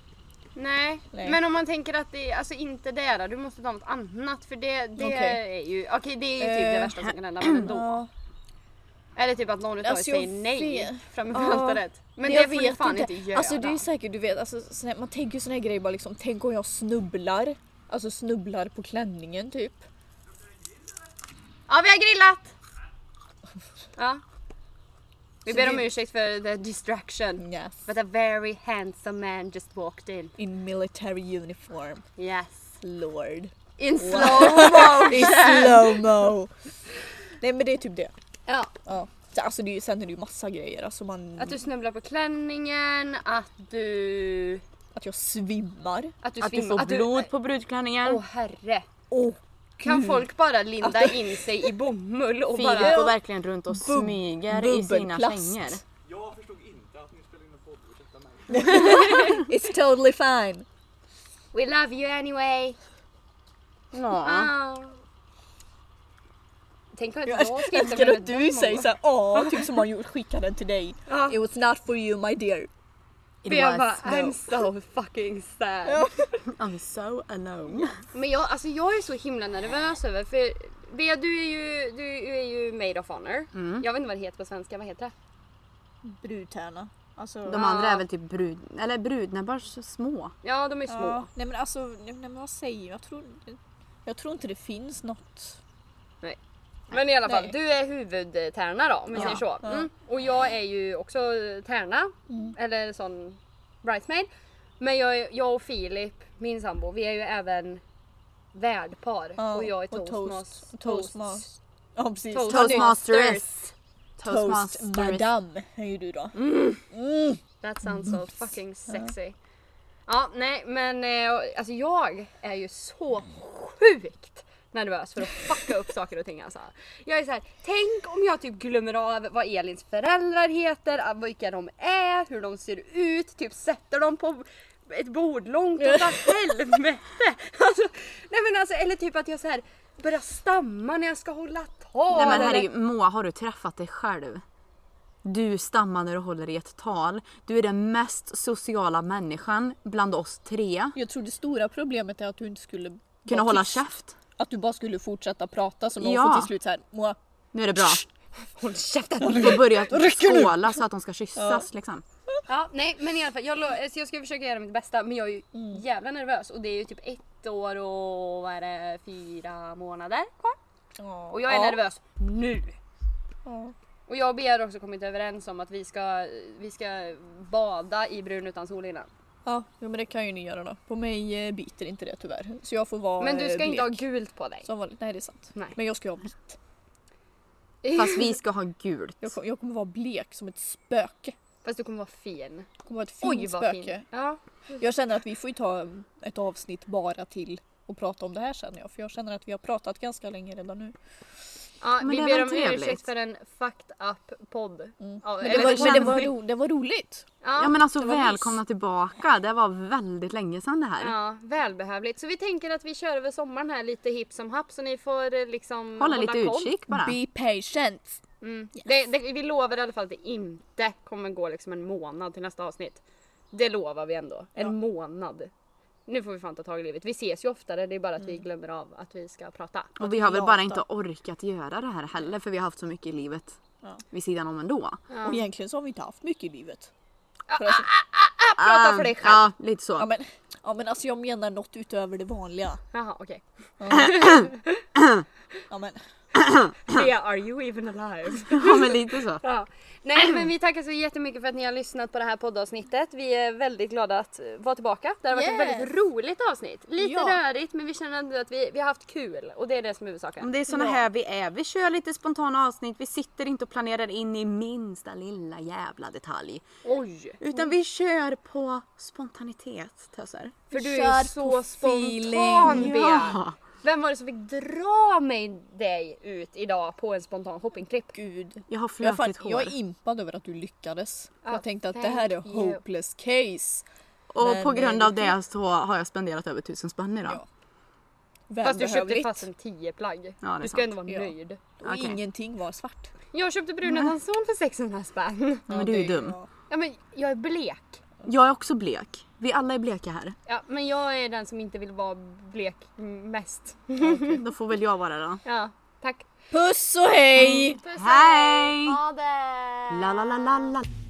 Speaker 1: Nej.
Speaker 3: Nej.
Speaker 1: men om man tänker att det är, alltså inte det då, du måste ta något annat för det, det
Speaker 3: Okej.
Speaker 1: är ju, okej det är ju typ det
Speaker 3: Eh,
Speaker 1: värsta som kan hända men ändå.
Speaker 3: Ja.
Speaker 1: Eller typ att någon utav er
Speaker 3: Alltså, jag
Speaker 1: säger nej
Speaker 3: vet.
Speaker 1: framför
Speaker 3: Ja.
Speaker 1: altaret. Men
Speaker 3: jag
Speaker 1: det får ni
Speaker 3: vet
Speaker 1: fan inte, göra.
Speaker 3: Alltså det är säkert, du vet, alltså, sån här, man tänker ju såna här grejer bara liksom, tänk om jag snubblar. Alltså snubblar på klänningen typ.
Speaker 1: Ja vi har grillat! Ja. Vi ber om ursäkt för the distraction.
Speaker 3: Yes.
Speaker 1: But a very handsome man just walked in.
Speaker 3: In military uniform.
Speaker 1: Yes.
Speaker 3: Lord.
Speaker 1: In slow
Speaker 3: I slowmo. Nej men det är typ det.
Speaker 1: Ja.
Speaker 3: Ja. Så, Alltså det är, ju- sen är det ju massa grejer. Alltså man,
Speaker 1: Att du snubblar på klänningen, att du...
Speaker 3: att jag svimmar.
Speaker 1: Att du
Speaker 2: Att du
Speaker 1: svimmar.
Speaker 2: får blod på brudklänningen.
Speaker 1: Åh herre.
Speaker 3: Och Mm.
Speaker 1: Kan folk bara linda in sig i bomull och
Speaker 2: Filip
Speaker 1: bara...
Speaker 2: går verkligen runt och
Speaker 3: bub-
Speaker 2: smyger i sina
Speaker 3: bubbelplast.
Speaker 2: kängor.
Speaker 4: Jag förstod inte att ni spelade in en podd, ursäkta mig.
Speaker 3: It's totally fine.
Speaker 1: We love you anyway.
Speaker 2: Ja.
Speaker 1: Ah. Tänk om att
Speaker 3: Jag
Speaker 1: jag ska
Speaker 3: älskar att du säger såhär åh, typ som man gjorde- skickade den till dig.
Speaker 1: Ja.
Speaker 3: It was not for you my dear.
Speaker 1: För jag
Speaker 2: It
Speaker 1: bara,
Speaker 2: was,
Speaker 1: I'm so fucking sad.
Speaker 2: I'm
Speaker 1: Oh,
Speaker 2: so alone.
Speaker 1: Men jag, alltså jag är så himla nervös över för Bea du är ju, du är ju made of honor.
Speaker 3: Mm.
Speaker 1: Jag vet inte vad det heter på svenska, vad heter det?
Speaker 3: Brudtärna. Alltså,
Speaker 2: De andra är väl typ brud... Eller brudnäbbar så små.
Speaker 1: Ja de är små.
Speaker 3: Ja. Nej men alltså, nej, men vad säger jag? Tror, jag tror inte det finns något.
Speaker 1: Men i alla fall,
Speaker 3: Nej.
Speaker 1: du är huvudtärna då om vi
Speaker 2: Ja.
Speaker 1: säger så. Mm. Och jag är ju också tärna,
Speaker 3: Mm.
Speaker 1: eller sån bridesmaid. Men jag, är- jag och Filip, min sambo, vi är ju även värdpar.
Speaker 3: Ja,
Speaker 1: och jag är
Speaker 3: toast-
Speaker 1: toastmas- toast-
Speaker 3: Toastmas. Ja precis.
Speaker 1: Toast-
Speaker 2: Toastmasters.
Speaker 3: Toast
Speaker 2: Toastmasters.
Speaker 3: madame är ju du då.
Speaker 1: Mm. That sounds so fucking sexy. Ja, nej men eh, alltså jag är ju så sjukt nervös för att fucka upp saker och ting alltså. Jag är så här, tänk om jag typ glömmer av vad Elins föräldrar heter, av vilka de är, hur de ser ut, typ sätter dem på ett bord långt åt helvete! Alltså, nej men alltså, eller typ att jag så här börjar stamma när jag ska hålla tal.
Speaker 2: Nej men
Speaker 1: eller-
Speaker 2: herregud, Moa har du träffat dig själv? Du stammar när du håller i ett tal. Du är den mest sociala människan bland oss tre.
Speaker 3: Jag tror det stora problemet är att du inte skulle vara
Speaker 2: Kunna hålla
Speaker 3: tyst.
Speaker 2: käft.
Speaker 3: Att du bara skulle fortsätta prata så någon
Speaker 2: Ja.
Speaker 3: får till slut såhär Moa,
Speaker 2: Nu är det bra.
Speaker 3: håll käften!
Speaker 2: Du får börja
Speaker 3: Rycker nu.
Speaker 2: skåla så att de ska kyssas liksom.
Speaker 3: Mm.
Speaker 1: Ja, nej men i alla fall, jag, lo- alltså, jag ska försöka göra mitt bästa men jag är ju jävla nervös och det är ju typ ett ett år och vad är det, fyra månader kvar.
Speaker 3: Ja.
Speaker 1: Och jag är
Speaker 3: Ja.
Speaker 1: nervös nu.
Speaker 3: Ja.
Speaker 1: Och jag och Bea har också kommit överens om att vi ska, vi ska bada i brun utan solhinna.
Speaker 3: Ja, jo, men det kan ju ni göra då. På mig eh, biter inte det tyvärr. Så jag får vara
Speaker 1: Men du ska
Speaker 3: eh,
Speaker 1: inte ha
Speaker 3: blek.
Speaker 1: gult på dig.
Speaker 3: Som vanligt. Nej det är sant.
Speaker 1: Nej.
Speaker 3: Men jag ska ju ha vitt.
Speaker 2: Fast vi ska ha gult.
Speaker 3: Jag kommer, jag kommer vara blek som ett spöke.
Speaker 1: Fast du kommer vara fin.
Speaker 3: Jag kommer vara ett fint
Speaker 1: Oj vad
Speaker 3: spöke.
Speaker 1: fin. Ja.
Speaker 3: Jag känner att vi får ju ta mm, ett avsnitt bara till och prata om det här känner jag. För jag känner att vi har pratat ganska länge redan nu.
Speaker 1: Ja,
Speaker 2: Men
Speaker 1: vi
Speaker 2: det
Speaker 1: ber
Speaker 2: var
Speaker 1: om
Speaker 2: trevligt.
Speaker 1: ursäkt för en fucked up podd. Ja,
Speaker 3: Mm. Men det
Speaker 1: eller-
Speaker 3: var, men det var,
Speaker 2: känns-
Speaker 3: ro, det var roligt.
Speaker 2: Ja men alltså
Speaker 3: det var nice.
Speaker 2: välkomna tillbaka. Det var väldigt länge sedan det här.
Speaker 1: Ja, välbehövligt. Så vi tänker att vi kör över sommaren här lite hipp som happ så ni får eh, liksom
Speaker 2: Hålla lite
Speaker 1: koll.
Speaker 2: utkik bara.
Speaker 3: Be patient.
Speaker 1: Mm. Det, det, vi lovar i alla fall att det inte kommer gå liksom en månad till nästa avsnitt. Det lovar vi ändå. En månad. Nu får vi fan ta tag i livet. Vi ses ju oftare, det är bara att
Speaker 2: Mm.
Speaker 1: vi glömmer av att vi ska prata.
Speaker 2: Och vi har väl
Speaker 3: lata.
Speaker 2: bara inte orkat göra det här heller för vi har haft så mycket i livet
Speaker 3: Ja.
Speaker 2: vid sidan om ändå.
Speaker 3: Och egentligen så har vi inte haft mycket i livet. För alltså,
Speaker 1: Prata
Speaker 2: Ah,
Speaker 1: för dig själv!
Speaker 2: Ja, lite så.
Speaker 3: ja, men, ja men alltså jag menar något utöver det vanliga.
Speaker 1: Jaha, okej.
Speaker 3: Ja, men,
Speaker 1: Bea, are you even alive?
Speaker 2: Ja, men lite så.
Speaker 1: Ja. Nej men vi tackar så jättemycket för att ni har lyssnat på det här poddavsnittet. Vi är väldigt glada att eh, vara tillbaka. Det har varit ett
Speaker 3: Yes.
Speaker 1: väldigt roligt avsnitt. Lite
Speaker 3: Ja.
Speaker 1: rörigt men vi känner ändå att vi, vi har haft kul och det är det som är huvudsaken.
Speaker 3: Mm.
Speaker 2: Men det är såna här vi är. Vi kör lite spontana avsnitt. Vi sitter inte och planerar in i minsta lilla jävla detalj.
Speaker 1: Oj!
Speaker 2: Utan vi kör på spontanitet, töser.
Speaker 1: För du
Speaker 3: Kör
Speaker 1: är
Speaker 3: på
Speaker 1: så spontan
Speaker 3: feeling.
Speaker 1: Bea. Vem var det som fick dra mig dig ut idag på en spontan shoppingtripp?
Speaker 3: gud.
Speaker 2: Jag har
Speaker 3: Jag är, fan,
Speaker 2: flötigt hår.
Speaker 3: jag är impad över att du lyckades.
Speaker 1: Ja,
Speaker 3: jag tänkte att det här är
Speaker 1: thank you.
Speaker 3: hopeless case.
Speaker 2: Och
Speaker 3: Men,
Speaker 2: på grund
Speaker 3: eh,
Speaker 2: av det så har jag spenderat över tusen spänn idag.
Speaker 3: Ja. Vem
Speaker 1: Fast du
Speaker 3: behöver
Speaker 1: köpte
Speaker 3: det?
Speaker 1: fast en 10 plagg.
Speaker 2: Ja, det är
Speaker 1: du ska
Speaker 2: sant.
Speaker 1: ändå vara
Speaker 3: Ja.
Speaker 1: nöjd.
Speaker 3: Och
Speaker 2: Okej.
Speaker 3: ingenting var svart.
Speaker 1: Jag köpte bruna tanson för 600 spänn.
Speaker 2: Men du är ju dum.
Speaker 1: Ja men jag är blek.
Speaker 2: Jag är också blek. Vi alla är bleka här.
Speaker 1: Ja, men jag är den som inte vill vara blek mest.
Speaker 2: Då får väl jag vara då.
Speaker 1: Ja, tack. Mm.
Speaker 3: Puss och hej!
Speaker 2: Hej!
Speaker 1: Ha det!
Speaker 2: La la la la la.